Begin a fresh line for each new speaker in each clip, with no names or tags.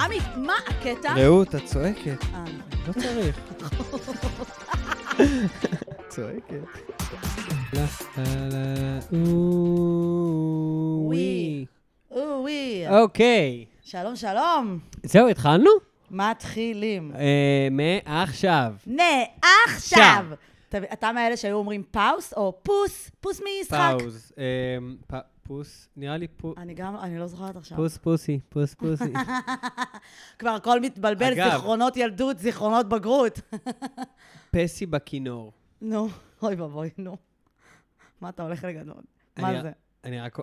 עמי, מה הקטע?
רעות, את צועקת.
אה, נכון.
לא צריך. צועקת. לה, לה, לה, או,
ווי.
ווי.
אוי,
אוקיי.
שלום, שלום.
זהו, התחלנו?
מתחילים.
אה, מעכשיו.
נה, עכשיו.
שם.
אתה- אתה מאלה שהיו אומרים פאוס או פוס, פוס ממשחק.
פאוז. אה, פ- פוס, נראה לי פו-
אני גם, אני לא זוכרת עכשיו.
פוס פוסי, פוס פוסי.
כבר הכל מתבלבל,
אגב.
זיכרונות ילדות, זיכרונות בגרות.
פסי בכינור.
נו, אוי ואבוי, נו. מה אתה הולך לגדול?
אני-
מה זה?
אני רק...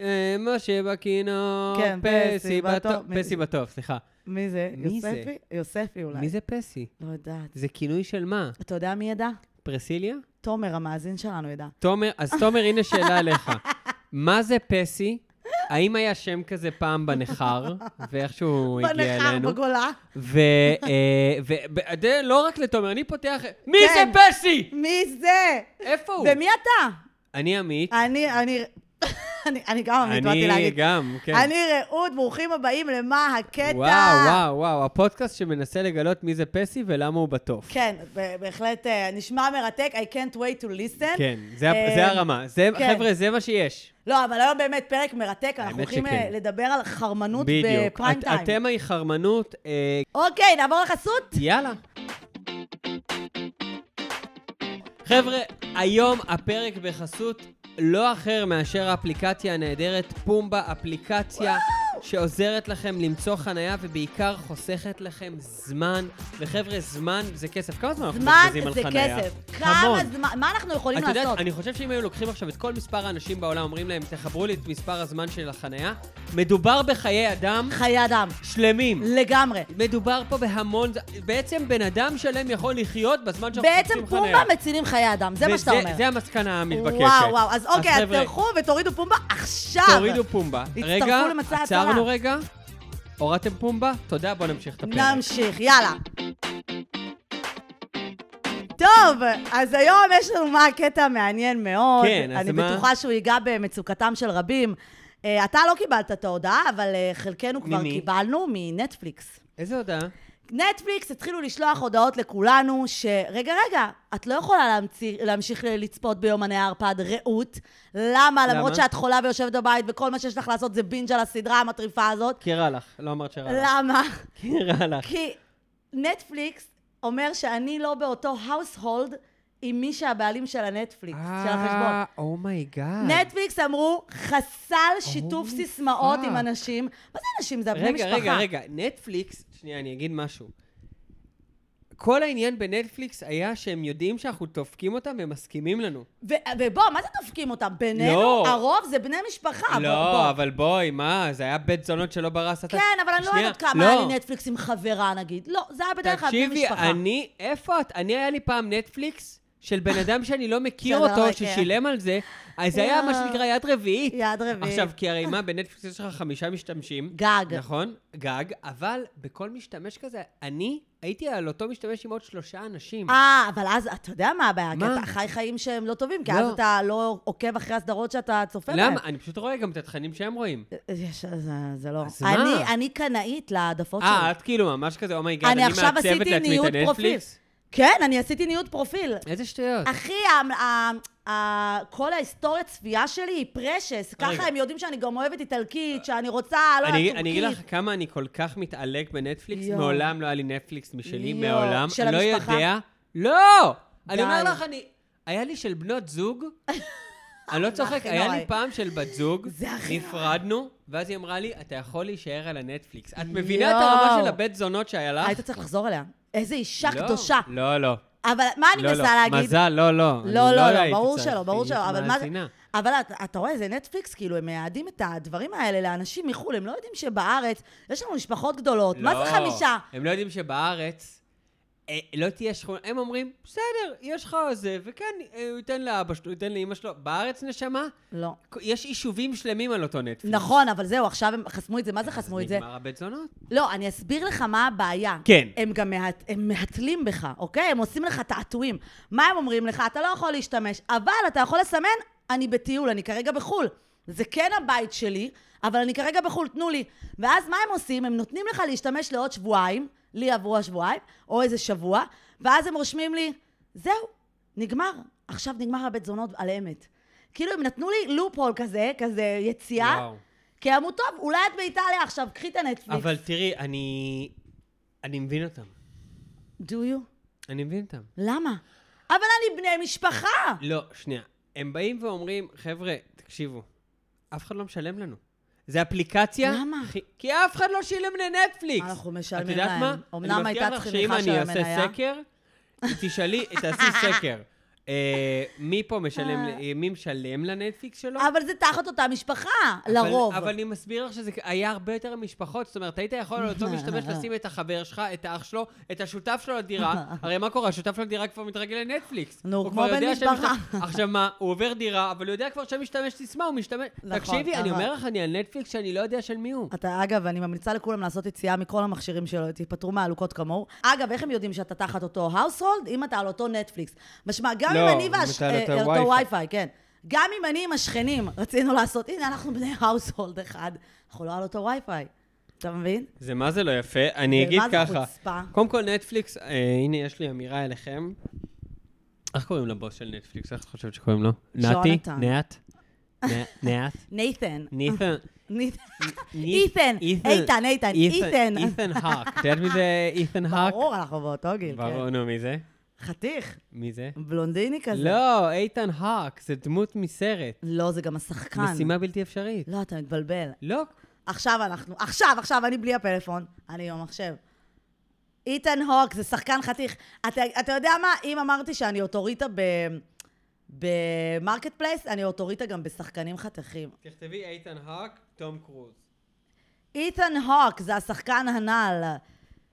אה, משה בכינור,
כן, פסי
פסי בטוב,
בתוף.
פסי בטוב, סליחה.
מי זה?
מי זה?
יוספי? יוספי אולי.
מי זה פסי?
לא יודעת.
זה כינוי של מה?
אתה יודע מי ידע?
פרסיליה?
תומר, המאזין שלנו, ידע.
תומר, אז תומר, הנה שאלה אליך. מה זה פסי? האם היה שם כזה פעם בניכר, ואיכשהו הוא הגיע
בניכר,
אלינו? אה,
בגולה.
ולא לא רק לתומר, אני פותח... מי
כן.
זה פסי?
מי זה?
איפה הוא?
ומי אתה?
אני עמית.
אני, אני, אני, אני גם עמית, באתי
אני
להגיד.
גם, כן.
אני רעות, ברוכים הבאים למה הקטע.
וואו, וואו, וואו, הפודקאסט שמנסה לגלות מי זה פסי ולמה הוא בטוף.
כן, ב- בהחלט אה, נשמע מרתק, I can't wait to listen.
כן, זה ה-
אה,
זה הרמה. זה-
כן.
חבר'ה, זה מה שיש.
לא, אבל היום באמת פרק מרתק, אנחנו
האמת
הולכים
שכן.
אה, לדבר על חרמנות
בדיוק.
בפריים
הת-
טיים.
התמה היא חרמנות, אה,
אוקיי, נעבור לחסות?
יאללה. חבר'ה, היום הפרק בחסות לא אחר מאשר האפליקציה הנהדרת פומבה, אפליקציה שעוזרת לכם למצוא חנייה ובעיקר חוסכת לכם זמן. וחבר'ה, זמן זה כסף. כמה זמן אנחנו
זמן
מבזבזים על
זה
חנייה?
כסף. כמה זמן, מה אנחנו יכולים
את יודעת,
לעשות?
אני חושב שאם היו לוקחים עכשיו את כל מספר האנשים בעולם, אומרים להם, תחברו לי את מספר הזמן של החנייה, מדובר בחיי אדם
חיי אדם,
שלמים.
לגמרי.
מדובר פה בהמון... ז- בעצם בן אדם שלם יכול לחיות בזמן שאנחנו
בעצם
מחפשים חניה.
פומבה מצילים חיי אדם, זה מה שאתה אומר.
זה המסקנה המתבקשת.
וואו, וואו, אז אוקיי, אז
חבר'ה,
תלכו ותורידו פומבה עכשיו.
תורידו פומבה.
הצטרפו
רגע,
למצע הצרה.
עצרנו רגע. הורדתם פומבה? תודה, בואו נמשיך את הפרק.
נמשיך, יאללה. טוב, אז היום יש לנו מה הקטע המעניין מאוד.
כן, אז
אני
מה?
בטוחה שהוא ייגע במצוקתם של רבים. אה, אתה לא קיבלת את ההודעה, אבל אה, חלקנו כבר
ממי?
קיבלנו מנטפליקס.
איזה הודעה?
נטפליקס התחילו לשלוח הודעות לכולנו שרגע, רגע, את לא יכולה להמציא, להמשיך ל- לצפות ביומני הערפד רעות. למה? למרות
למה?
שאת חולה ויושבת בבית וכל מה שיש לך לעשות זה בינג' על הסדרה המטריפה הזאת.
כי רע לך, לא אמרת שרע לך.
למה?
כי רע לך.
כי נטפליקס אומר שאני לא באותו household עם מי שהבעלים של הנטפליקס,
אה.
של החשבון.
אומייגאד.
נטפליקס אמרו, חסל שיתוף
Oh my
סיסמאות עם
fuck.
אנשים. מה זה אנשים? זה הבני
רגע,
משפחה.
רגע, רגע, נטפליקס, שנייה, אני אגיד משהו. כל העניין בנטפליקס היה שהם יודעים שאנחנו דופקים אותם והם מסכימים לנו.
ו- ובוא, מה זה דופקים אותם? בינינו,
לא.
הרוב זה בני משפחה. אה, בוא, בוא.
לא, אבל בואי, מה, זה היה בית זונות שלא ברא השטן.
כן, אבל אני לא
שנייה,
יודעת כמה
לא.
היה לי נטפליקס עם חברה, נגיד. לא, זה היה בדרך כלל בני
תקשיבי,
משפחה.
אני, איפה את? אני, היה לי פעם נטפליקס של בן אדם שאני לא מכיר
שאתה לא
אותו,
מכיר.
ששילם על זה, אז זה היה
יואו.
מה שנקרא יד רביעית.
יד רביעית.
עכשיו, כי הרי מה, בנטפליקס יש לך חמישה משתמשים.
גג.
נכון? גג, אבל בכל משתמש כזה, אני הייתי על אותו משתמש עם עוד שלושה אנשים.
אה, אבל אז, אתה יודע מה הבעיה? כי
מה?
אתה חי חיים שהם לא טובים, כי
לא.
אז אתה לא עוקב אחרי הסדרות שאתה צופה בהן.
למה? אני פשוט רואה גם את התכנים שהם רואים.
יש, זה, זה לא...
אז
אני,
מה?
אני קנאית להעדפות שלי.
אה, את כאילו ממש כזה, אומייגאד,
לא אני
אני
עכשיו
מעצבת
עשיתי
לעצמי את
ניוד פרופיל.
הנטפליקס.
כן, אני עשיתי ניוד פרופיל.
איזה שטויות.
אחי, ה- ה- ה- כל ההיסטוריית צפייה שלי היא פרשס.
רגע. אה,
ככה הם יודעים שאני גם אוהבת איטלקית, שאני רוצה, לא
אני,
יודעת,
אני אגיד לך
טורקית.
כמה אני כל כך מתעלק בנטפליקס,
יואו.
מעולם לא היה לי נטפליקס משלי,
יואו.
מעולם.
של
לא
המשפחה?
יודע. לא!
די.
אני אומר לך, אני... היה לי של בנות זוג, אני לא
זה
צוחק,
הכי
היה
נוראי.
לי פעם של בת זוג,
זה הכי
נפרדנו, ואז היא אמרה לי, אתה יכול להישאר על הנטפליקס. את מבינה את הרמה
יואו.
של הבית זונות שהיה לך?
היית צריך לחזור אליה. איזה אישה
אה? לא,
קדושה.
לא, לא.
אבל מה אני
לא, לא.
מנסה להגיד?
מזל, לא, לא. אני
לא, לא, לא,
הייתי
ברור
צריך.
שלא, ברור
היא
שלא, אבל מה זה...
מאזינה.
אבל אתה, אתה רואה, זה נטפליקס, כאילו, הם מייעדים את הדברים האלה לאנשים מחו"ל, הם לא יודעים שבארץ יש לנו משפחות גדולות, מה זה
לא,
חמישה?
הם לא יודעים שבארץ אה, לא תהיה שכונה, הם אומרים, בסדר, יש לך זה, וכן, אה, הוא ייתן לאבא שלו, הוא ייתן לאמא שלו. בארץ, נשמה,
לא.
יש יישובים שלמים על אותו נטפליקס.
נכון, אבל זהו, עכשיו הם חסמו את זה, מה זה חסמו את זה?
נגמר הבית זונות?
לא, אני אסביר לך מה הבעיה.
כן.
הם גם מהת... הם מהתלים בך, אוקיי? הם עושים לך תעתועים. מה הם אומרים לך? אתה לא יכול להשתמש, אבל אתה יכול לסמן, אני בטיול, אני כרגע בחו"ל. זה כן הבית שלי, אבל אני כרגע בחו"ל, תנו לי. ואז מה הם עושים? הם נותנים לך להשתמש לעוד שבועיים, לי עברו השבועיים, או איזה שבוע, ואז הם רושמים לי, זהו, נגמר. עכשיו נגמר הבית זונות על אמת. כאילו הם נתנו לי לופהול כזה, כזה יציאה,
וואו.
כי אמרו, טוב, אולי את באיטליה עכשיו, קחי את הנטפליקס.
אבל תראי, אני... אני מבין אותם.
do you?
אני מבין אותם.
למה? אבל אני בני משפחה!
לא, שנייה. הם באים ואומרים, חבר'ה, תקשיבו, אף אחד לא משלם לנו. זה אפליקציה...
למה?
הכי- כי אף אחד לא שילם לנטפליקס.
אנחנו משלמים
את יודעת
להם.
מה?
אמנם
אני מבטיח
הייתה
לך
צריכה
שאם
של
אני אעשה
המניה.
סקר, תשאלי, תעשי סקר. אה, מי פה משלם, ל- מי משלם לנטפליקס שלו?
אבל זה תחת אותה משפחה,
לא. אבל-
לרוב.
אבל אני מסביר לך שזה היה הרבה יותר משפחות, זאת אומרת, היית יכול על אותו משתמש לשים את החבר שלך, את האח שלו, את השותף שלו לדירה. הרי מה קורה? השותף שלו לדירה כבר מתרגל לנטפליקס.
נו,
הוא
כמו
כבר
בן
יודע שם
משפחה.
משת- עכשיו מה, הוא עובר דירה, אבל הוא יודע כבר שם משתמש סיסמה, הוא משתמש...
נכון,
תקשיבי, אני
נכון.
אומר לך, אני על נטפליקס שאני לא יודע של מי הוא.
אתה, אגב, אני ממליצה לכולם לעשות יציאה מכל המכשירים שלו, תיפטרו מהעלוקות כמוהו. אגב, איך הם יודעים שאתה תחת אותו household? אם אתה על אותו נטפליקס. משמע, גם
לא,
אם אני
אם
והש...
אתה על
אה,
אותו
על אותו
Wi-Fi.
וי-פיי, כן. גם אם אני עם השכנים רצינו לעשות, הנה, אנחנו בני household אחד, אנחנו לא על אותו וי-פיי. אתה מבין?
זה מה זה לא יפה, אני
ומה
אגיד
זה
ככה.
חוצפה?
קודם כל, נטפליקס, אה, הנה, יש לי אמירה אליכם. איך קוראים לבוס של נטפליקס? איך את חושבת שקוראים לו? נתי?
יונתן.
נאט? נא- נאט?
נייתן.
ניתן?
נייתן. איתן, איתן, איתן, איתן.
איתן האק. את יודעת מי זה איתן האק?
ברור, אנחנו באותו גיל,
ברור,
כן.
נו, מי זה?
חתיך,
מי זה?
בלונדיני כזה.
לא, איתן האק, זה דמות מסרט.
לא, זה גם השחקן.
משימה בלתי אפשרית.
לא, אתה מתבלבל.
לא.
עכשיו אנחנו, עכשיו, עכשיו, אני בלי הפלאפון, אני עם המחשב. איתן הוק זה שחקן חתיך. אתה, אתה יודע מה, אם אמרתי שאני אוטוריטה ב... במרקט פלייס, אני אוטוריטה גם בשחקנים חתיכים.
תכתבי איתן האק, תום קרוז.
איתן הוק זה השחקן הנ"ל,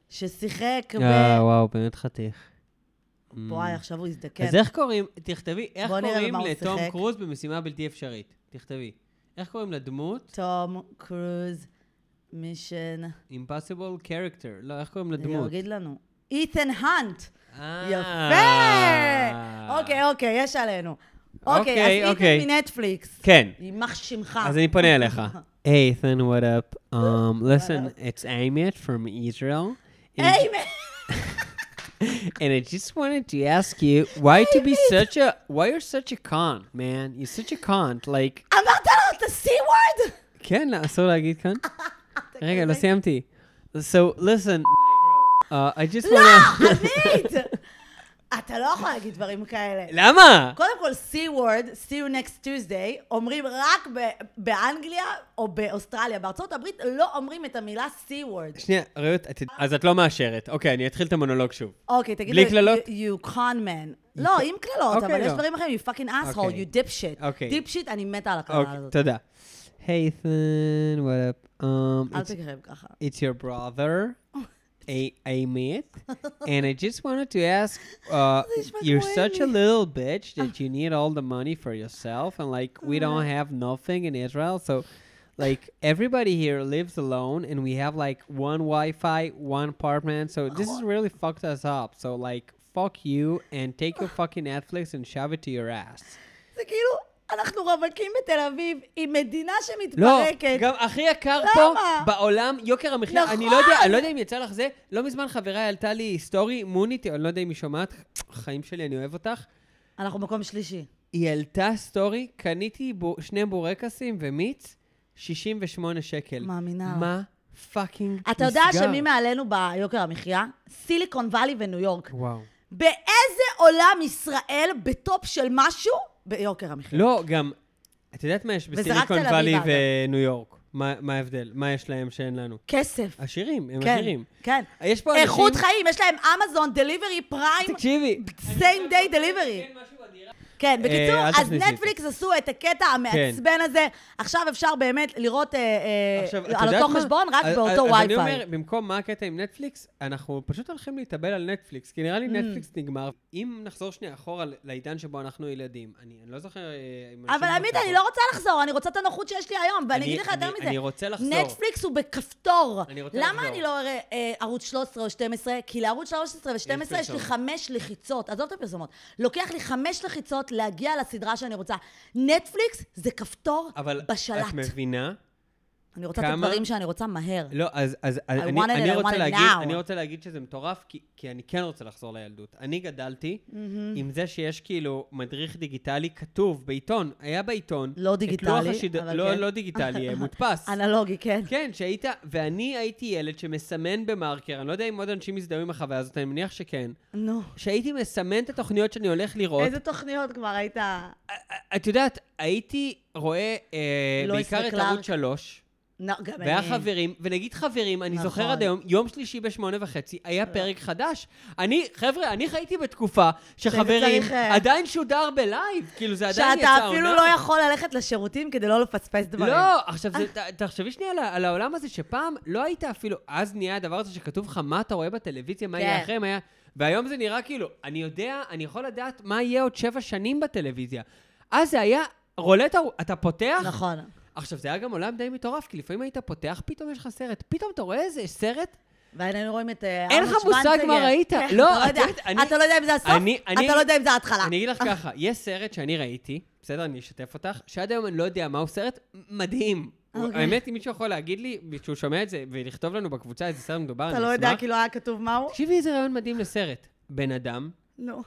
ששיחק ב...
אה, וואו, באמת חתיך. Mm.
וואי, עכשיו הוא הזדקן.
אז איך קוראים, תכתבי, איך
בוא נראה
קוראים
במה הוא
לתום
שיחק.
קרוז במשימה בלתי אפשרית? תכתבי. איך קוראים לדמות?
תום קרוז מישן.
Impossible character. לא, איך קוראים
הוא
לדמות?
יגיד לנו. איתן האנט.
אה.
יפה! אוקיי, אוקיי, יש עלינו.
אוקיי,
אוקיי, אז
אוקיי.
איתן מנטפליקס.
כן.
יימח שמך.
אז אני פונה אליך. Hey, Ethan, what up? Um, listen, it's Amit from Israel. And,
היי,
and I just wanted to ask you why to be such a why you're such a con, man. You're such a con. Like,
אמרת לו את ה-C-word?
כן, לא, אסור להגיד כאן. רגע, לא סיימתי. So, listen, uh, I just
לא,
wanna...
עמית! אתה לא יכול להגיד דברים כאלה.
לא. למה?
קודם כל, C-word, see you next Tuesday, אומרים רק ב- באנגליה או באוסטרליה. בארצות הברית לא אומרים את המילה C-word.
שנייה, רעות, את- אז את לא מאשרת. אוקיי, אני אתחיל את המונולוג שוב.
אוקיי, תגיד
בלי
לו,
קללות?
you- you con man. לא, עם קללות,
אוקיי,
אבל יש
לא.
דברים אחרים, you fucking asshole,
אוקיי.
you dipshit.
אוקיי.
dipshit, אני מתה על הקללה
אוקיי,
הזאת.
תודה. Hey, Ethan, what up? Um,
אל
it's-
תקרב ככה.
it's your brother, a Amit, and I just wanted to ask, uh,
This is my
you're such a
boy.
little bitch that you need all the money for yourself, and like we
Uh-huh.
don't have nothing in Israel, so like everybody here lives alone, and we have like one Wi-Fi, one apartment, so this is really fucked us up. So like, fuck you, and take your fucking Netflix and shove it to your ass.
זה כאילו, אנחנו רווקים בתל אביב, עם מדינה
לא,
שמתפרקת.
גם הכי יקר
למה?
פה בעולם, יוקר המחיה, אני לא יודע,
נכון.
אני לא יודע אם יצא לך זה, לא מזמן חברה העלתה לי סטורי, מונית, אני לא יודע אם היא שומעת, חיים שלי, אני אוהב אותך.
אנחנו מקום שלישי.
היא העלתה סטורי, קניתי בו, שני בורקסים ומיץ, 68 שקל.
מאמינה.
מה פאקינג נסגר?
אתה יודע שמי מעלינו ביוקר המחיה? סיליקון וואלי וניו יורק.
וואו.
באיזה עולם ישראל בטופ של משהו? ביוקר המחיה.
לא, גם, את יודעת מה יש
וזה רק
בסיליקון
תל
וואלי
אביב,
וניו יורק? מה מה ההבדל? מה יש להם שאין לנו?
כסף.
עשירים, הם
כן,
עשירים.
כן.
יש פה לא, אנשים...
איכות חיים, יש להם אמזון, דליברי, פריים,
תקשיבי.
same day delivery. כן, בקיצור,
אה, אל
אז
תכניסי את זה. כן.
נטפליקס עשו את הקטע המעצבן הזה, עכשיו אפשר באמת לראות אה, אה,
עכשיו, את
על
יודעת
אותו
מה?
חשבון רק
אז-
באותו
אז אני
וי-פיי.
אומר, במקום מה הקטע עם נטפליקס, אנחנו פשוט הולכים להתאבל על נטפליקס, כי
Mm.
נראה לי נטפליקס נגמר. אם נחזור שנייה אחורה ל- לעידן שבו אנחנו ילדים, אני אני לא זוכר... אה, אם אנשים
אבל עמית,
זוכרים.
אני לא רוצה לחזור, אני רוצה את הנוחות שיש לי היום, ואני
אני-
אגיד לך יותר
אני-
מזה.
אני רוצה לחזור.
נטפליקס הוא בכפתור.
אני רוצה לחזור.
למה אני לא אראה אה, ערוץ 13 או 12? כי לערוץ 13 ו-12 יש לי
פרסומת.
חמש לחיצות, עזוב את הפרסומות. לוקח לי חמש לחיצות להגיע לסדרה שאני רוצה. נטפליקס זה כפתור
אבל
בשלט.
את מבינה?
אני רוצה את
כמה-
הדברים שאני רוצה מהר.
לא, אז, אז אני,
want it,
אני,
I want
רוצה
it
להגיד,
now.
אני רוצה להגיד שזה מטורף, כי, כי אני כן רוצה לחזור לילדות. אני גדלתי
Mm. לא
עם זה שיש כאילו מדריך דיגיטלי כתוב בעיתון, היה בעיתון.
לא
את
דיגיטלי,
לוח השיד...
אבל
לא,
כן.
לא דיגיטלי, אה, מודפס.
אנלוגי, כן.
כן, שהיית, ואני הייתי ילד שמסמן במרקר, אני לא יודע אם עוד אנשים הזדהו עם החוויה הזאת, אני מניח שכן.
נו.
שהייתי מסמן את התוכניות שאני הולך לראות.
איזה תוכניות כבר היית...
את יודעת, הייתי רואה אה,
לואיס
בעיקר את
וקלארק.
ערוץ שלוש.
נו, גם
והיה
אני-
חברים, ונגיד חברים, אני
נכון. לא.
זוכר עד היום, יום שלישי בשמונה וחצי, היה פרק חדש. אני, חבר'ה, אני חייתי בתקופה שחברים
צריך, אה,
עדיין שודר בלייב, כאילו זה עדיין יצא
שאתה
עונה.
אפילו לא יכול ללכת לשירותים כדי לא לפספס דברים.
לא, עכשיו, זה- ת- תחשבי שנייה על ה- על העולם הזה, שפעם לא היית אפילו, אז נהיה הדבר הזה שכתוב לך מה אתה רואה בטלוויזיה, מה יהיה
כן.
אחרי, מה יהיה... והיום זה נראה כאילו, אני יודע, אני יכול לדעת מה יהיה עוד שבע שנים בטלוויזיה. אז זה היה רולטה, אתה פותח,
נכון.
עכשיו, זה היה גם עולם די מטורף, כי לפעמים היית פותח, פתאום יש לך סרט. פתאום אתה רואה איזה סרט,
והיינו רואים את אה,
אין
ארנולד
לך מושג
שוונצנגר.
מה ראית.
כן,
לא,
אתה
את
יודע-
יודעת, אני-
אתה לא יודע אם זה הסוף,
אני- אני-
אתה לא יודע אם זה ההתחלה.
אני אגיד לך ככה, יש סרט שאני ראיתי, בסדר, אני אשתף אותך, שעד היום אני לא יודע מהו סרט מדהים.
אוקיי.
האמת, אם מישהו יכול להגיד לי, שהוא שומע את זה, ולכתוב לנו בקבוצה איזה סרט מדובר, אני אשמח.
אתה לא יודע, כי לא היה כתוב מהו.
תקשיבי איזה רעיון מדהים לסרט. בן אדם,
נו,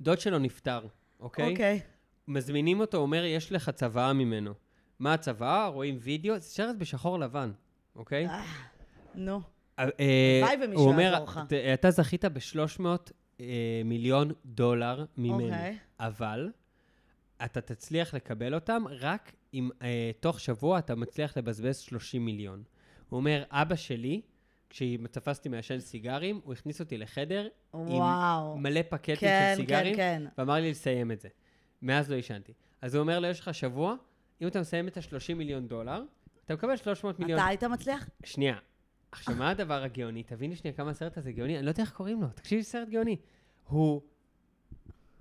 דוד שלו נפטר, אוקיי?
אוקיי.
מזמינים אותו, אומר, יש לך צוואה ממנו. מה הצוואה? רואים וידאו, זה סרט בשחור לבן, אוקיי?
אה, נו.
אה, אה,
הלוואי ומישהו
הוא אומר,
יעזור לך.
"ת- אתה זכית ב-300 מיליון דולר ממני,
אוקיי.
אבל אתה תצליח לקבל אותם רק אם אה, תוך שבוע אתה מצליח לבזבז 30 מיליון. הוא אומר, אבא שלי, כשתפסתי מעשן סיגרים, הוא הכניס אותי לחדר
וואו.
עם מלא פקטים
כן, כן,
של סיגרים,
כן.
ואמר לי לסיים את זה. מאז לא עישנתי. אז הוא אומר לו, יש לך שבוע, אם אתה מסיים את ה-30 מיליון דולר, אתה מקבל 300 מיליון
אתה היית מצליח?
שנייה. עכשיו, מה הדבר הגאוני? תביני שנייה כמה הסרט הזה גאוני, אני לא יודע איך קוראים לו, תקשיבי סרט גאוני. הוא...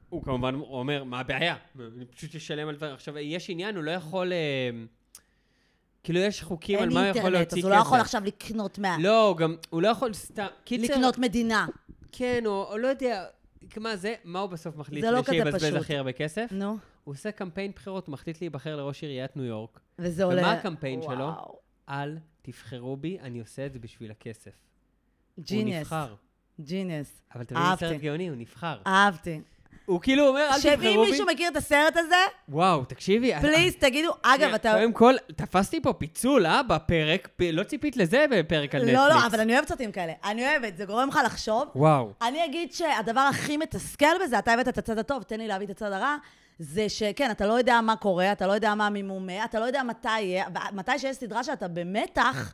הוא כמובן אומר, מה הבעיה? אני פשוט אשלם על דבר. עכשיו, יש עניין, הוא לא יכול... אה, כאילו, יש חוקים על
אין
מה הוא יכול
אינטרנט,
להוציא
אז
כסף.
הוא לא יכול עכשיו לקנות מה...
לא, הוא גם... הוא לא יכול סתם... קיצר...
לקנות מדינה.
כן, או או לא יודע... מה זה? מה הוא בסוף מחליט?
זה לא
כדי
כזה
שיבזבז
פשוט. Mm.
הכי הרבה כסף?
נו,
הוא עושה קמפיין בחירות, הוא מחליט להיבחר לראש עיריית ניו יורק.
וזה עולה...
ומה הקמפיין שלו?
וואו,
אל תבחרו בי, אני עושה את זה בשביל הכסף. הוא
ג'יניאס.
נבחר.
ג'יניאס.
אבל אתה מבין, סרט
אהבתי. אה,
גאוני, הוא נבחר.
אהבתי.
הוא כאילו אומר, אל
שאם
תבחרו בי.
מישהו מכיר את הסרט הזה,
וואו, תקשיבי. אה,
פליז, תגידו, אגב,
אה,
אתה...
קודם כל, תפסתי פה פיצול, אה, בפרק. פ- לא ציפית לזה בפרק על נטפליקס.
לא, לא, אבל אני אוהבת סרטים כאלה. אני אוהבת, זה גורם לך לחשוב.
וואו.
אני אגיד שהדבר הכי מתסכל בזה, אתה הבאת את הצד הטוב, תן לי להביא את הצד הרע, זה שכן, אתה לא יודע מה קורה, אתה לא יודע מה הממומה, אתה לא יודע מתי יהיה, ו- מתי שיש סדרה שאתה במתח,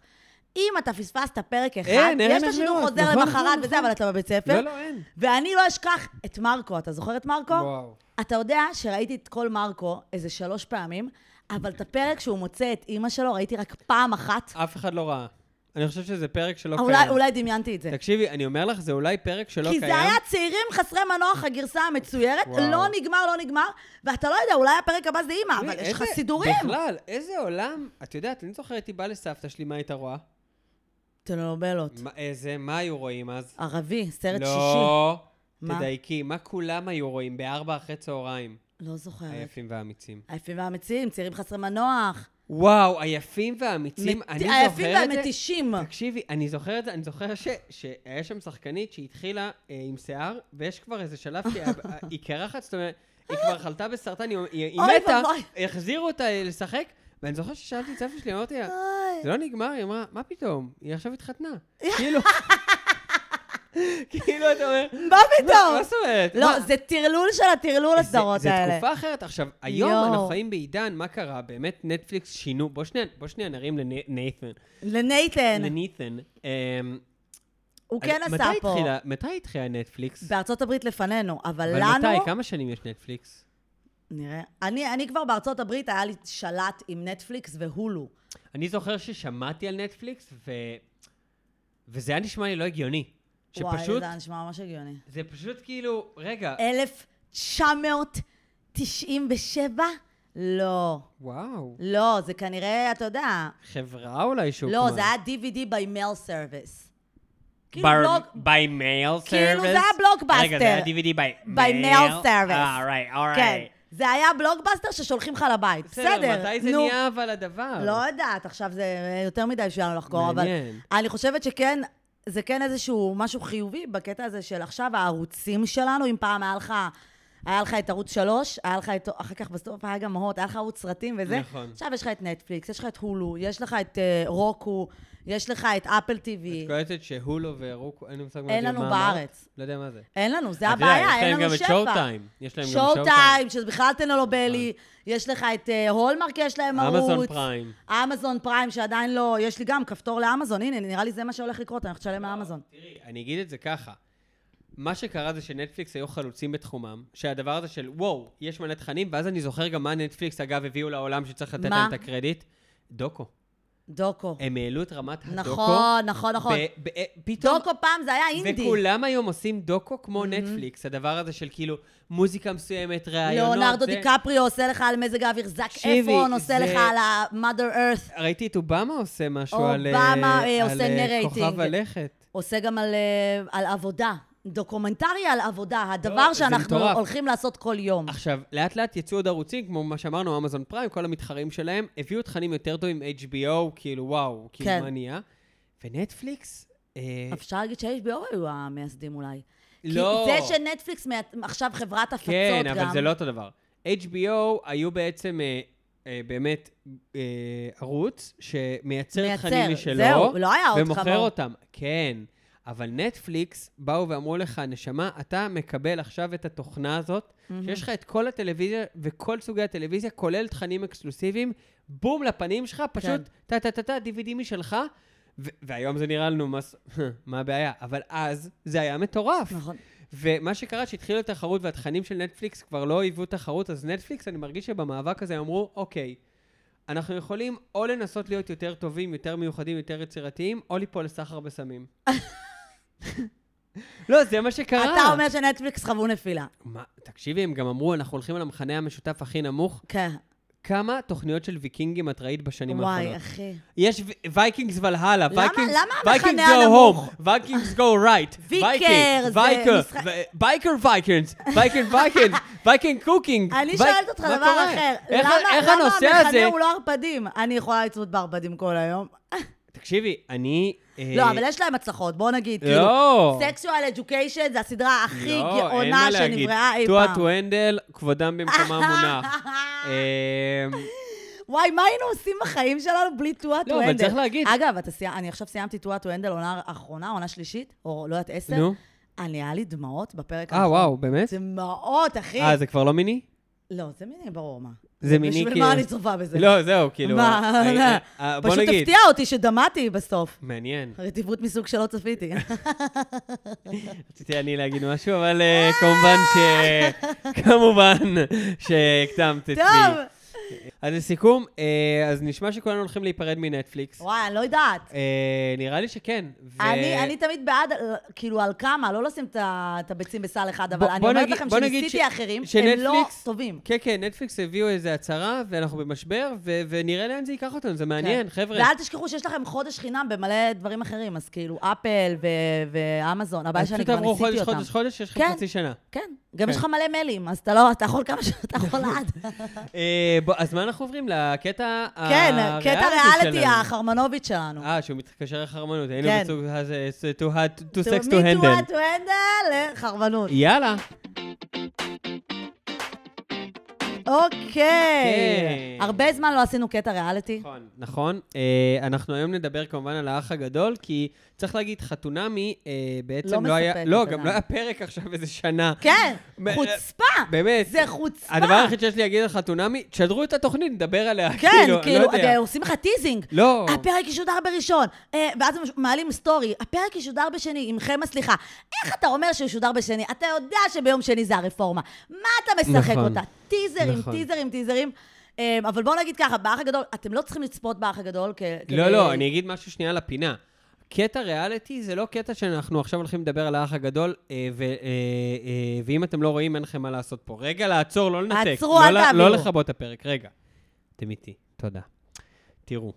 אם אתה פספסת פרק אחד,
אין, אין,
יש את
אין
השידור
לראות.
חוזר
נכון,
למחרת
נכון,
וזה,
נכון.
אבל אתה בבית ספר.
לא, לא, אין.
ואני לא אשכח את מרקו, אתה זוכר את מרקו?
וואו.
אתה יודע שראיתי את כל מרקו איזה שלוש פעמים, אבל את הפרק שהוא מוצא את אימא שלו ראיתי רק פעם אחת.
אף אחד לא ראה. אני חושב שזה פרק שלא
אולי,
לא קיים.
אולי דמיינתי את זה.
תקשיבי, אני אומר לך, זה אולי פרק שלא
כי
קיים.
זה היה צעירים חסרי מנוח, הגרסה המצוירת,
וואו.
לא נגמר, לא נגמר, ואתה לא יודע, אולי הפרק הבא זה אימא,
תראי,
אבל יש לך
איזה-
סידורים.
בכלל, איזה עולם... את יודעת, אני זוכר הייתי בא לסבתא שלי, מה הייתה רואה?
טלנובלות.
מה- איזה, מה היו רואים אז?
ערבי, סרט שישי.
לא.
מה?
תדייקי, מה כולם היו רואים בארבע אחרי צהריים?
לא זוכרת.
היפים והאמיצים.
היפים והאמיצים, צעירים חסרי מנוח.
וואו, היפים והאמיצים,
מת-
אני זוכר את זה.
היפים והמתישים.
תקשיבי, אני זוכר את זה, אני זוכר ש- שהיה שם שחקנית שהתחילה אה, עם שיער, ויש כבר איזה שלב שהיא היא קרחת, זאת אומרת, היא כבר חלתה בסרטן, היא- היא היא
אוי
מתה,
ואבוי.
החזירו אותה אה, לשחק, ואני זוכר ששאלתי את סבתא שלי, אמרתי לה, זה לא נגמר, היא אמרה, מה פתאום? היא עכשיו התחתנה. כאילו, כאילו, אתה אומר,
מה פתאום?
מה זאת אומרת?
לא,
מה-
זה טרלול של הטרלול
זה-
הסדרות האלה.
זה תקופה אחרת. עכשיו, היום
יואו.
אנחנו חיים בעידן, מה קרה? באמת נטפליקס שינו, בוא שנייה, בוא שנייה נרים לנייתן.
לנייתן,
לנייתן. אמ,
כן. הוא כן
אז
עשה
מתי
פה.
התחילה- מתי התחילה נטפליקס?
בארצות הברית לפנינו, אבל
אבל
לנו...
מתי? כמה שנים יש נטפליקס?
נראה. אני אני כבר בארצות הברית, היה לי שלט עם נטפליקס והולו.
אני זוכר ששמעתי על נטפליקס, ו... וזה היה נשמע לי לא הגיוני.
וואי, אה,
שפשוט,
זה היה נשמע ממש הגיוני.
זה פשוט כאילו, רגע,
1997? לא.
וואו.
לא, זה כנראה, אתה יודע...
חברה אולי שהוקמה.
לא, זה היה DVD by mail service. כאילו בלוג...
by mail service?
כאילו, זה היה בלוקבאסטר.
רגע, זה היה DVD by
by mail service.
אה, right, all
כן.
right.
זה היה בלוגבאסטר ששולחים לך לבית. בסדר, נו.
מתי זה נהיה אבל הדבר?
לא יודעת, עכשיו זה יותר מדי בשביל לנו לחקור, אבל
אה. מעניין.
אני חושבת שכן, זה כן איזשהו משהו חיובי בקטע הזה של עכשיו הערוצים שלנו, אם פעם היה לך... היה לך את ערוץ 3, היה לך את... אחר כך בסוף היה גם הוט, היה לך ערוץ סרטים וזה.
נכון.
עכשיו יש לך את נטפליקס, יש לך את הולו, יש לך את אה, רוקו, יש לך את אפל
את
TV.
קולטת שהולו ורוקו, אין לי מושג מה זה,
אין לנו
מה אמרת?
בארץ.
לא יודע מה זה.
אין לנו, זה
את יודעת,
הבעיה, אין לנו
יש
שפע.
להם גם את שואו-טיים. יש להם גם
שואו-טיים, שזה בכלל טנולובלי, יש לך את אה, הולמרק, יש להם ערוץ.
אמזון פריים.
אמזון פריים, שעדיין לא, יש לי גם כפתור לאמזון, הנה, נראה לי זה מה שהולך לקרות, אני הולכת לשלם לאמזון.
תראי, אני אגיד את זה ככה. מה שקרה זה שנטפליקס היו חלוצים בתחומם, שהדבר הזה של וואו, יש מלא תכנים, ואז אני זוכר גם מה נטפליקס, אגב, הביאו לעולם שצריך לתת
מה?
להם את הקרדיט. דוקו.
דוקו.
הם העלו את רמת הדוקו.
נכון, נכון, נכון.
ב- ב- פתאום...
דוקו פעם זה היה אינדי. Mm-hmm.
וכולם היום עושים דוקו כמו נטפליקס, הדבר הזה של כאילו מוזיקה מסוימת, ראיונות.
ליאונרדו
זה.
דיקפריו עושה לך על מזג האוויר, זאק
תקשיבי,
אפרון עושה
זה-
לך על ה-Mother Earth,
ראיתי את אובמה עושה משהו על...
אובמה,
אה,
אה,
על,
עושה
אה,
נרייטינג.
כוכב הלכת.
עושה גם על, אה, על עבודה. דוקומנטרי על עבודה, הדבר
לא, זה
שאנחנו
מטורף.
הולכים לעשות כל יום.
עכשיו, לאט לאט יצאו עוד ערוצים, כמו מה שאמרנו, אמזון פריים, כל המתחרים שלהם, הביאו תכנים יותר טובים, HBO, כאילו וואו, כאילו
כן.
מה נהיה. ונטפליקס, אה,
אפשר להגיד ש-HBO היו המייסדים אולי.
לא.
כי זה שנטפליקס מייט- עכשיו חברת הפצות גם.
כן, אבל זה לא אותו דבר. HBO היו בעצם אה, אה, באמת אה, ערוץ שמייצר
מייצר,
תכנים משלו.
זהו, לא היה עוד
ומוכר
כמוהו.
אותם, כן. אבל נטפליקס באו ואמרו לך, נשמה, אתה מקבל עכשיו את התוכנה הזאת, שיש לך את כל הטלוויזיה וכל סוגי הטלוויזיה, כולל תכנים אקסקלוסיביים, בום לפנים שלך, פשוט
כן.
טה-טה-טה-טה, DVD משלך. ו- והיום זה נראה לנו, מה ס- מה הבעיה? אבל אז זה היה מטורף.
נכון.
ומה שקרה, שהתחילה התחרות והתכנים של נטפליקס כבר לא היוו תחרות, אז נטפליקס, אני מרגיש שבמאבק הזה הם אמרו, אוקיי, אנחנו יכולים או לנסות להיות יותר טובים, יותר מיוחדים, יותר יצירתיים, או ליפול לסחר בסמים. לא, זה מה שקרה.
אתה אומר שנטפליקס חוו נפילה.
מה, תקשיבי, הם גם אמרו, אנחנו הולכים על המכנה המשותף הכי נמוך.
כן.
כמה תוכניות של ויקינגים את ראית בשנים
וואי,
האחרונות?
אחי.
יש ו- וייקינגס ולהלה,
למה-
וייקינגס...
למה המכנה
וייקינגס go
הנמוך?
home, וייקינגס go right,
ויקר, זה משחק-
וייקר וייקינגס, וייקינג וייקינגס, וייקינג קוקינג.
אני
וייק-
שואלת אותך דבר
מה קורה?
אחר.
איך-
למה
איך
למה
הנושא הזה...
המכנה הוא לא ערפדים? אני יכולה לצמות בערפדים כל היום.
תקשיבי, אני... אה,
לא, אבל יש להם הצלחות, בוא נגיד.
לא.
סקסואל אדיוקיישן זה הסדרה הכי
לא, אין מה
גאונה
להגיד.
שנבראה אי
טועה
פעם.
טואנדל, כבודם במקומם מונח. אה,
וואי, מה היינו עושים בחיים שלנו בלי טועה
לא,
טו
אבל
הנדל?
צריך להגיד.
אגב, אתה סי- אני עכשיו סיימתי טועה טו הנדל, עונה אחרונה, עונה שלישית, או לא יודעת, עשר.
נו.
אני, היה לי דמעות בפרק
אה, וואו, באמת?
דמעות, אחי.
אה, זה כבר לא מיני?
לא, זה מיני, ברור מה.
זה מיני כאילו...
בשביל מה אני צופה בזה?
לא, זהו, כאילו...
מה,
אה,
לא.
אה, אה, בוא
פשוט
נגיד.
הפתיע אותי שדמעתי בסוף.
מעניין.
רטיבות מסוג שלא צפיתי.
רציתי אני להגיד משהו, אבל אה, כמובן ש... כמובן שהקדמת את
טוב,
לי. אז לסיכום, אה, אז נשמע שכולנו הולכים להיפרד מנטפליקס.
וואי, אני לא יודעת.
אה, נראה לי שכן. ו-
אני, אני תמיד בעד, אה, כאילו, על כמה, לא לשים את ה- את הביצים בסל אחד, אבל
בוא-
אני
בוא
אומרת
נגיד-
לכם
בוא נגיד
שניסיתי
ש-
אחרים, הם
שנטפליקס-
לא טובים.
כן, כן, נטפליקס הביאו איזו הצהרה, ואנחנו במשבר, ו- ונראה לאן זה ייקח אותנו, זה
כן.
מעניין, חבר'ה.
ואל תשכחו שיש לכם חודש חינם במלא דברים אחרים, אז כאילו, אפל ו- ואמזון, הבעיה שאני כבר
פשוט
ניסיתי
עברו חודש,
אותם.
חודש, חודש, יש לך
כן.
חצי שנה.
כן, גם
כן.
יש לך מלא מיילים, אז אתה לא, אתה יכול כמה שאתה יכול עד.
אה, בוא, אז מה אנחנו עוברים? לקטע
כן,
אה, הריאליטי
קטע ריאליטי
שלנו.
החרמנוביץ' שלנו.
אה, שהוא מתקשר לחרמנות, היינו
כן.
בצוג הזה, it's too hard, too
To
sex to
me to
handle.
what to handle, חרמנות.
יאללה.
אוקיי.
כן.
הרבה זמן לא עשינו קטע ריאליטי.
נכון. נכון. אה, אנחנו היום נדבר כמובן על האח הגדול, כי צריך להגיד, חתונמי אה,
לא
בעצם לא היה...
מספקת
לא,
עדיין.
גם לא היה פרק עכשיו איזה שנה.
כן,
מ-
חוצפה.
באמת.
זה חוצפה.
הדבר היחיד שיש לי להגיד על חתונמי, תשדרו את התוכנית, נדבר עליה.
כן,
לא
כאילו,
יודע.
אה, עושים לך טיזינג.
לא.
הפרק ישודר בראשון, אה, ואז הם מעלים סטורי, הפרק ישודר בשני, עמכם הסליחה. איך אתה אומר שהוא ישודר בשני? אתה יודע שביום שני זה הרפורמה. מה אתה משחק
נכון.
אותה? טיזרים,
נכון.
טיזרים, טיזרים. אה, אבל בואו נגיד ככה, באח הגדול, אתם לא צריכים לצפות באח הגדול כ...
לא,
כדי-
לא, אני אגיד משהו שנייה לפינה. קטע ריאליטי זה לא קטע שאנחנו עכשיו הולכים לדבר על האח הגדול, אה, ו- אה, אה, ואם אתם לא רואים, אין לכם מה לעשות פה. רגע, לעצור, לא לנתק.
עצרו,
לא
אל
ל-
תעבירו.
לא לכבות את הפרק, רגע. אתם איתי, תודה. תראו,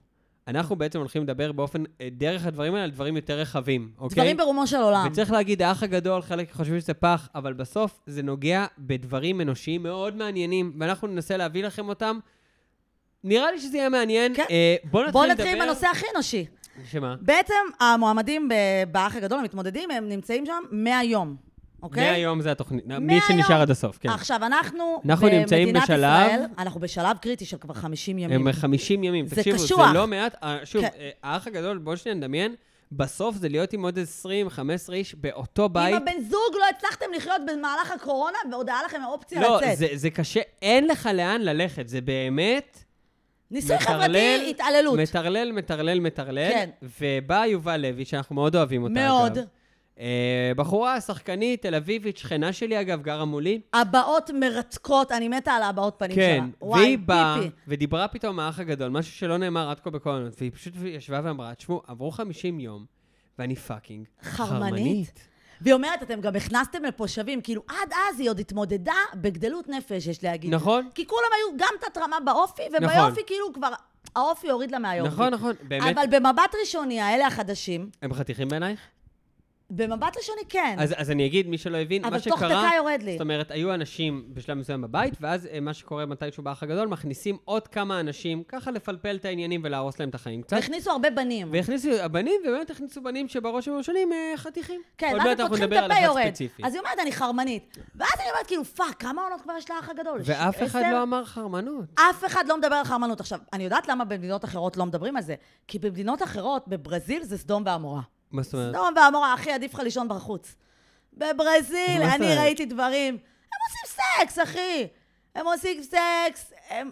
אנחנו בעצם הולכים לדבר באופן, אה, דרך הדברים האלה, על דברים יותר רחבים, אוקיי?
דברים ברומו של עולם.
וצריך להגיד, האח הגדול, חלק חושבים שזה פח, אבל בסוף זה נוגע בדברים אנושיים מאוד מעניינים, ואנחנו ננסה להביא לכם אותם. נראה לי שזה יהיה מעניין.
כן.
אה, בואו נתחיל
בואו
לדבר...
נתחיל עם הנושא הכי אנושי.
שמה?
בעצם המועמדים ב- באח הגדול, המתמודדים, הם נמצאים שם מהיום, אוקיי?
מהיום זה התוכנית. מי
מהיום.
שנשאר עד הסוף, כן.
עכשיו, אנחנו,
אנחנו
במדינת
נמצאים בשלב-
ישראל, אנחנו בשלב קריטי של כבר 50 ימים.
הם 50 ימים.
זה
תקשיבו, זה
קשוח.
לא מעט. אה, שוב,
כן.
אה, האח הגדול, בואו שניה נדמיין, בסוף זה להיות עם עוד 20-15 איש באותו
אם
בית.
הבן זוג לא הצלחתם לחיות במהלך הקורונה, הודעה לכם האופציה
לא,
לצאת.
זה, זה קשה, אין לך לאן ללכת, זה באמת...
ניסוי
מטרלל-
חברתי, התעללות.
מטרלל, מטרלל, מטרלל.
כן.
ובא יובל לוי, שאנחנו מאוד אוהבים אותה,
מאוד.
אגב. אה, בחורה, שחקנית, תל אביבית, שכנה שלי, אגב, גרה מולי.
הבעות מרתקות, אני מתה על הבעות פנים
כן,
שלה.
והיא באה,
פיפי.
ודיברה פתאום מהאח הגדול, משהו שלא נאמר עד כה בכל העונות, והיא פשוט ישבה ואמרה, תשמעו, עברו 50 יום, ואני פאקינג
חרמנית."
חרמנית.
והיא אומרת, אתם גם הכנסתם לפה שווים, כאילו עד אז היא עוד התמודדה בגדלות נפש, יש להגיד.
נכון.
כי כולם היו גם תת-רמה באופי,
נכון.
וביופי כאילו כבר, האופי הוריד לה מהיופי.
נכון, נכון, באמת,
אבל במבט ראשוני, האלה החדשים,
הם חתיכים בעינייך?
במבט ראשוני כן.
אז, אז אני אגיד, מי שלא הבין,
אבל
מה
תוך
שקרה...
דקה יורד לי.
זאת אומרת, היו אנשים בשלב מסוים בבית, ואז אה, מה שקורה מתישהו באח הגדול, מכניסים עוד כמה אנשים, ככה לפלפל את העניינים ולהרוס להם את החיים קצת.
הכניסו הרבה בנים.
והכניסו הבנים, ובאמת הכניסו בנים שבראש ובראשונים אה, חתיכים.
כן,
עוד
ואז
מעט
הם
אנחנו
פותחים
נדבר
את
על
הפה
אחד
יורד.
ספציפי.
אז היא אומרת, אני חרמנית. ואז אני אומרת, כאילו, פאק, כמה עונות כבר יש לאח הגדול?
ואף אחד
עשר?
לא אמר חרמנות.
אף אחד לא מדבר על חרמנות. עכשיו, אני יודעת למה במדינות אחרות לא מדברים על זה. כי במדינות אחרות, בברזיל זה סדום ועמורה.
מה זאת אומרת?
סדום ועמורה, אחי, עדיף לך לישון בחוץ. בברזיל,
מה זאת
אני
אומרת?
ראיתי דברים. הם עושים סקס, אחי. הם עושים סקס, הם,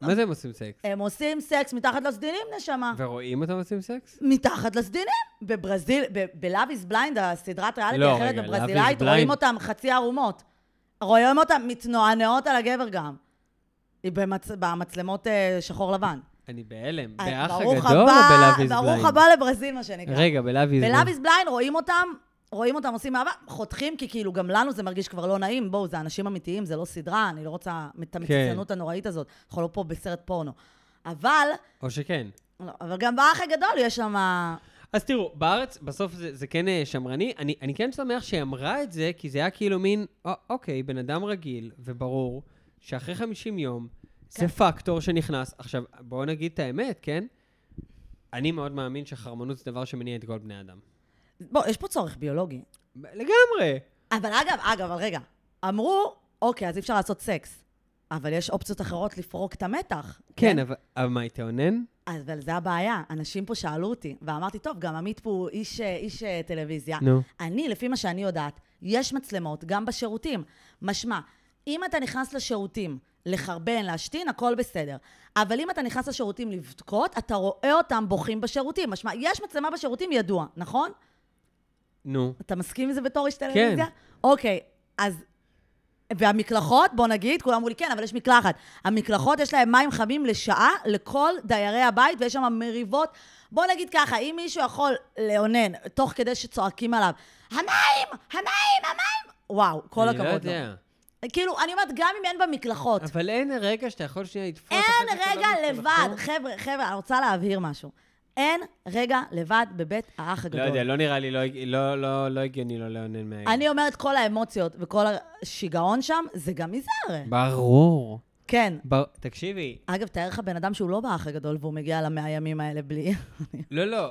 מה זה הם עושים סקס?
הם עושים סקס מתחת לסדינים, נשמה.
ורואים אותם עושים סקס?
מתחת לסדינים. בברזיל, ב-Love is Blind, הסדרת ריאליטי
לא,
האחרת
רגע, Love is
בברזילאית,
Blind.
רואים אותם חצי ערומות. רואים אותם מתנוענעות על הגבר גם. במצ... במצלמות אה, שחור לבן.
אני בהלם.
אז
באח
אה, ברוך
הגדול או
הבא-
בלאב איז
ברוך
בליינד?
הבא לברזיל, מה שנקרא.
רגע, בלאב איז
בלאב
בליינד.
איז בליין רואים אותם, רואים אותם עושים אהבה, חותכים, כי כאילו גם לנו זה מרגיש כבר לא נעים. בואו, זה אנשים אמיתיים, זה לא סדרה, אני לא רוצה
כן.
את המציצנות הנוראית הזאת. אנחנו לא פה בסרט פורנו. אבל,
או שכן.
לא, אבל גם באח הגדול יש שם...
אז תראו, בארץ בסוף זה, זה כן אה, שמרני. אני, אני כן שמח שהיא אמרה את זה, כי זה היה כאילו מין, "א- אוקיי, בן אדם רגיל וברור שאחרי 50 יום,
כן.
זה פקטור שנכנס. עכשיו, בואו נגיד את האמת, כן? אני מאוד מאמין שחרמנות זה דבר שמניע את כל בני אדם.
בוא, יש פה צורך ביולוגי.
ב- לגמרי.
אבל אגב, אגב, אבל רגע, אמרו, אוקיי, אז אי אפשר לעשות סקס. אבל יש אופציות אחרות לפרוק את המתח.
כן, אבל, אבל מה, היא תאונן?
אז- אבל זה הבעיה. אנשים פה שאלו אותי, ואמרתי, טוב, גם עמית פה הוא איש, אה, איש אה, טלוויזיה.
נו.
אני, לפי מה שאני יודעת, יש מצלמות גם בשירותים. משמע, אם אתה נכנס לשירותים לחרבן, להשתין, הכל בסדר. אבל אם אתה נכנס לשירותים לבכות, אתה רואה אותם בוכים בשירותים. משמע, יש מצלמה בשירותים, ידוע, נכון?
נו.
אתה מסכים עם זה בתור איש טלוויזיה? כן. אוקיי, אז... והמקלחות, בוא נגיד, כולם אמרו לי, כן, אבל יש מקלחת. המקלחות, יש להם מים חמים לשעה לכל דיירי הבית, ויש שם מריבות. בוא נגיד ככה, אם מישהו יכול לאונן, תוך כדי שצועקים עליו, המים! המים! המים! וואו, כל
אני
הכבוד
לא
לו.
יודע.
כאילו, אני אומרת, גם אם אין במקלחות,
אבל אין רגע שאתה יכול שנייה לתפוס...
אין
אחרי שאתה לא
רגע
מתחיל
לבד.
לחקור?
חבר'ה, חבר'ה, אני רוצה להבהיר משהו. אין רגע לבד בבית האח
לא
הגדול.
יודע, לא נראה לי, לא- לא- לא לא הגיוני לא לאונן מהרגע.
אני אומרת, כל האמוציות וכל השיגעון שם, זה גם מזה הרי.
ברור.
כן.
בר- תקשיבי,
אגב, תאר לך בן אדם שהוא לא באח הגדול והוא מגיע למאה ימים האלה בלי...
לא, לא,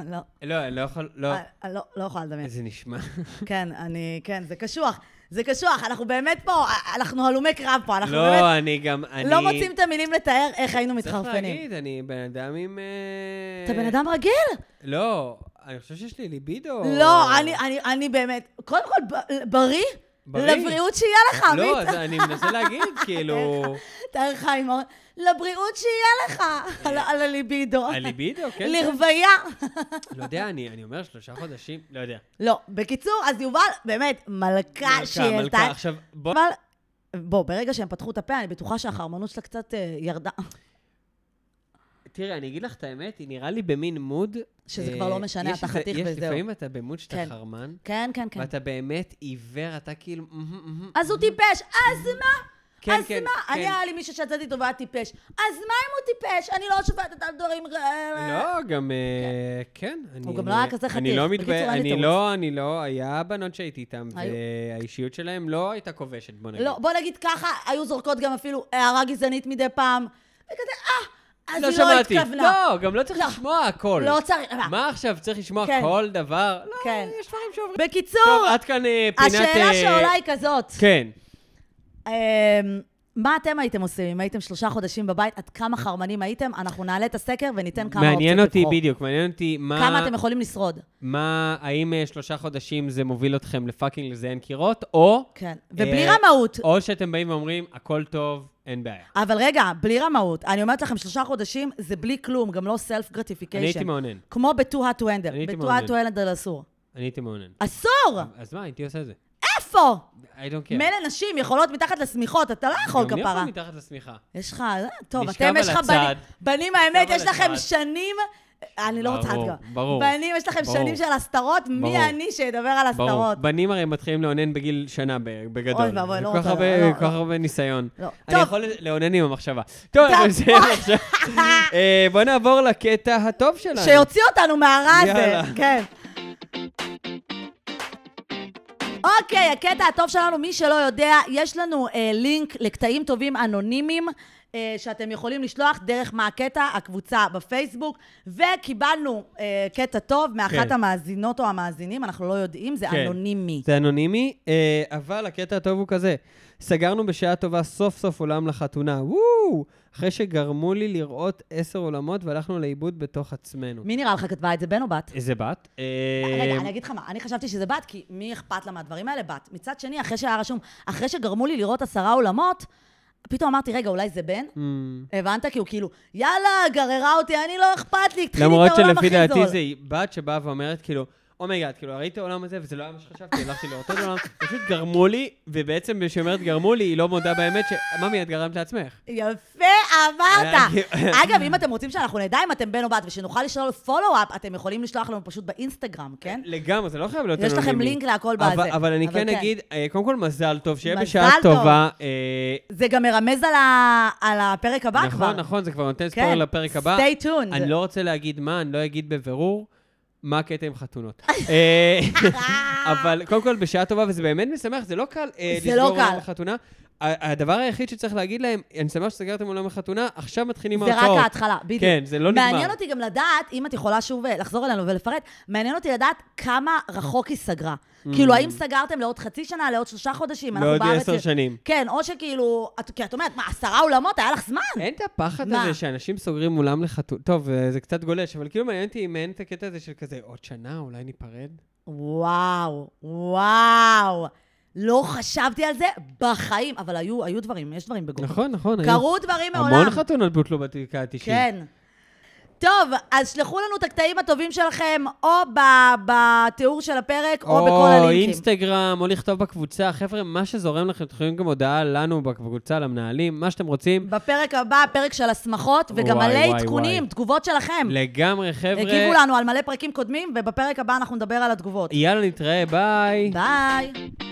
לא,
לא, אני לא יכול, לא.
אה, לא, לא יכולה לדמיין.
זה נשמע.
כן, אני... כן, זה קשוח. זה קשוח, אנחנו באמת פה, אה, אנחנו הלומי קרב פה, אנחנו באמת
לא, אני גם, אני...
לא מוצאים את המילים לתאר איך היינו
צריך
מתחרפנים.
להגיד, אני בן אדם עם... אה,
אתה בן אדם רגיל?
לא, אני חושב שיש לי ליבידו.
לא, אני- אני- אני באמת... קודם כל, ב- בריא?
בריא.
לבריאות שיהיה לך, עמית.
לא, אז אני מנסה להגיד, כאילו...
תאר לך עם... האור- לבריאות שיהיה לך, על- על הליבידו.
הליבידו, כן.
לרוויה.
לא יודע, אני אני אומר שלושה חודשים, לא יודע. לא,
לא, בקיצור, אז יובל, באמת, מלכה
מלכה,
שהיא העלתה...
מלכה, עכשיו, בוא...
אבל, בוא, ברגע שהם פתחו את הפה, אני בטוחה שהחרמנות שלה קצת אה, ירדה,
תראה, אני אגיד לך את האמת, היא נראה לי במין מוד...
שזה
אה,
כבר לא משנה,
יש
אתה
איזה-
חתיך
יש-
וזהו.
לפעמים אתה במוד שאתה
כן.
חרמן,
כן, כן, כן.
ואתה באמת עיוור, אתה כאילו...
אז הוא טיפש, אז מה?
כן,
אז
כן,
מה?
כן.
אני, היה לי מישהו שיצאתי איתו והיה טיפש. אז מה אם הוא טיפש? אני לא שופטת על דברים...
לא, גם... אה, כן, אני...
הוא גם לא היה כזה
אני
חטיף. בקיצור,
לא מתבייש,
אין לי
אני
תירוץ.
לא, אני לא, היה בנות שהייתי איתן,
היו.
והאישיות שלהן לא הייתה כובשת, בוא נגיד.
לא, בוא נגיד ככה, היו זורקות גם אפילו הערה גזענית מדי פעם. וכזה, אה, אז היא לא
שמעתי.
התכוונה.
לא, גם לא צריך
לא.
לשמוע הכל.
לא צריך, מה?
מה עכשיו, צריך לשמוע
כן.
כל דבר? לא,
כן.
יש דברים שעוברים. טוב,
בקיצור,
עד כאן אה, פינת...
השאלה
אה,
שעולה היא כזאת.
כן.
אמ, מה אתם הייתם עושים אם הייתם שלושה חודשים בבית? עד כמה חרמנים הייתם? אנחנו נעלה את הסקר וניתן כמה אופציות לבחור.
מעניין אותי, בדיוק, מעניין אותי מה...
כמה אתם יכולים לשרוד.
מה, האם אה, שלושה חודשים זה מוביל אתכם לפאקינג לזיין קירות, או...
כן. ובלי
אה,
רמאות.
או שאתם באים ואומרים, הכל טוב, אין בעיה.
אבל רגע, בלי רמאות. אני אומרת לכם, שלושה חודשים זה בלי כלום, גם לא סלף
אני הייתי
גרטיפיקיישן.
מאונן.
כמו ב-Too hot to handle.
אני הייתי
ב-Too
מעונן.
hot to handle אסור.
אני הייתי מאונן.
אסור!
אז מה, הייתי עושה את זה?
איפה?
I don't care.
מילא נשים יכולות מתחת לשמיכות, אתה לא יכול
כן. גם מי
כפרה.
יכול מתחת לשמיכה?
יש לך, אה, טוב,
נשכב
אתם יש
על
לך
הצד.
בנים, בנים האמת,
נשכב
יש
על
לכם
הצד.
שנים, אני לא רוצה
ברור,
עד
ברור.
בנים, יש לכם
ברור.
שנים של הסתרות,
ברור.
מי אני שידבר על
ברור.
הסתרות?
בנים הרי מתחילים לאונן בגיל שנה בערך, בגדול.
אוי ואבוי, לא
כל כך
רוצה,
הרבה-
לא, לא.
כל כך הרבה ניסיון.
לא.
אני
טוב.
יכול לאונן עם המחשבה. טוב, אנחנו נסיים עכשיו. אה, בוא נעבור לקטע הטוב שלנו.
שיוציא אותנו מהרע הזה,
יאללה.
כן. אוקיי, הקטע הטוב שלנו, מי שלא יודע, יש לנו אה, לינק לקטעים טובים אנונימיים. אה, שאתם יכולים לשלוח דרך מה הקטע, הקבוצה בפייסבוק, וקיבלנו אה, קטע טוב מאחת
כן.
המאזינות או המאזינים, אנחנו לא יודעים, זה
כן.
אנונימי.
זה אנונימי, אה, אבל הקטע הטוב הוא כזה. סגרנו בשעה טובה סוף סוף עולם לחתונה. וואו! אחרי שגרמו לי לראות עשר עולמות והלכנו לאיבוד בתוך עצמנו.
מי נראה לך כתבה את זה, בן או בת?
איזה בת?
רגע,
אה,
אני אגיד לך מה, אני חשבתי שזה בת, כי מי אכפת לה מהדברים האלה? בת. מצד שני, אחרי שהיה רשום, אחרי שגרמו לי לראות עשרה עולמות, פתאום אמרתי, רגע, אולי זה בן?
אמ,
הבנת? כי הוא כאילו, יאללה, גררה אותי, אני לא אכפת לי, תחילי
למרות
את העולם
שלפי
הכי
דעתי
זול.
זה בת שבאה ואומרת, כאילו, אומייגאד, כאילו, ראית העולם הזה, וזה לא היה מה שחשבתי, הלכתי לראות עוד עולם, פשוט גרמו לי, ובעצם כשהיא אומרת גרמו לי, היא לא מודה באמת ש... ממי, את גרמת לעצמך.
יפה, אמרת.
היה-
אגב, אם אתם רוצים שאנחנו נדע אם אתם בן או בת, ושנוכל לשאול פולו-אפ, אתם יכולים לשלוח לנו פשוט באינסטגרם, כן?
לגמרי, זה לא חייב להיות
יש
אנונימי.
לכם לינק להכל
אבל-
בזה.
אבל אני כן אגיד, אה, קודם כל מזל טוב, שיהיה
מזל
בשעה
טוב.
טובה. אה,
זה גם מרמז על ה- על הפרק הבא כבר.
נכון, נכון, זה כבר נותן ספוילר
כן,
לפרק הבא.
stay tuned.
אני לא רוצה להגיד מה, אני לא אגיד בבירור מה הקטע עם חתונות. אה, אבל קודם כל, בשעה טובה, וזה באמת משמח, זה לא קל אה,
זה לא
לסגור עולם
קל.
בחתונה. ה- הדבר היחיד שצריך להגיד להם, אני שמח שסגרתם עולם בחתונה, עכשיו מתחילים
זה
ההוצאות.
רק ההתחלה, בדיוק.
כן, זה לא נגמר.
מעניין אותי גם לדעת, אם את יכולה שוב אה, לחזור אלינו ולפרט, מעניין אותי לדעת כמה רחוק היא סגרה. כאילו, האם סגרתם לעוד חצי שנה, לעוד שלושה חודשים? אנחנו
Mm. לעוד
בארץ-
עשר שנים.
כן, או שכאילו, את- כי את אומרת, מה, עשרה אולמות? היה לך זמן?
אין את הפחד
מה?
הזה שאנשים סוגרים אולם לחתונה, טוב, אה, זה קצת גולש, אבל כאילו מעניין אותי אם אין את הקטע הזה של כזה, עוד שנה, אולי ניפרד?
וואו, וואו. לא חשבתי על זה בחיים, אבל היו, היו דברים, יש דברים בגובה.
נכון, נכון. היו
קרו דברים מעולם.
המון חתונות בוטלו בתקה ה-90.
כן. טוב, אז שלחו לנו את הקטעים הטובים שלכם, או ב- בתיאור של הפרק, או בכל
או
הלינקים.
אינסטגרם, או לכתוב בקבוצה. חבר'ה, מה שזורם לכם, אתם יכולים גם הודעה לנו בקבוצה, למנהלים, מה שאתם רוצים.
בפרק הבא, הפרק של השמחות, וגם
וואי,
מלא
וואי,
עדכונים,
וואי.
תגובות
כן.
שלכם.
לגמרי,
הגיבו
חבר'ה.
לנו על מלא פרקים קודמים, ובפרק הבא אנחנו נדבר על התגובות.
יאללה, נתראה, ביי.
ביי.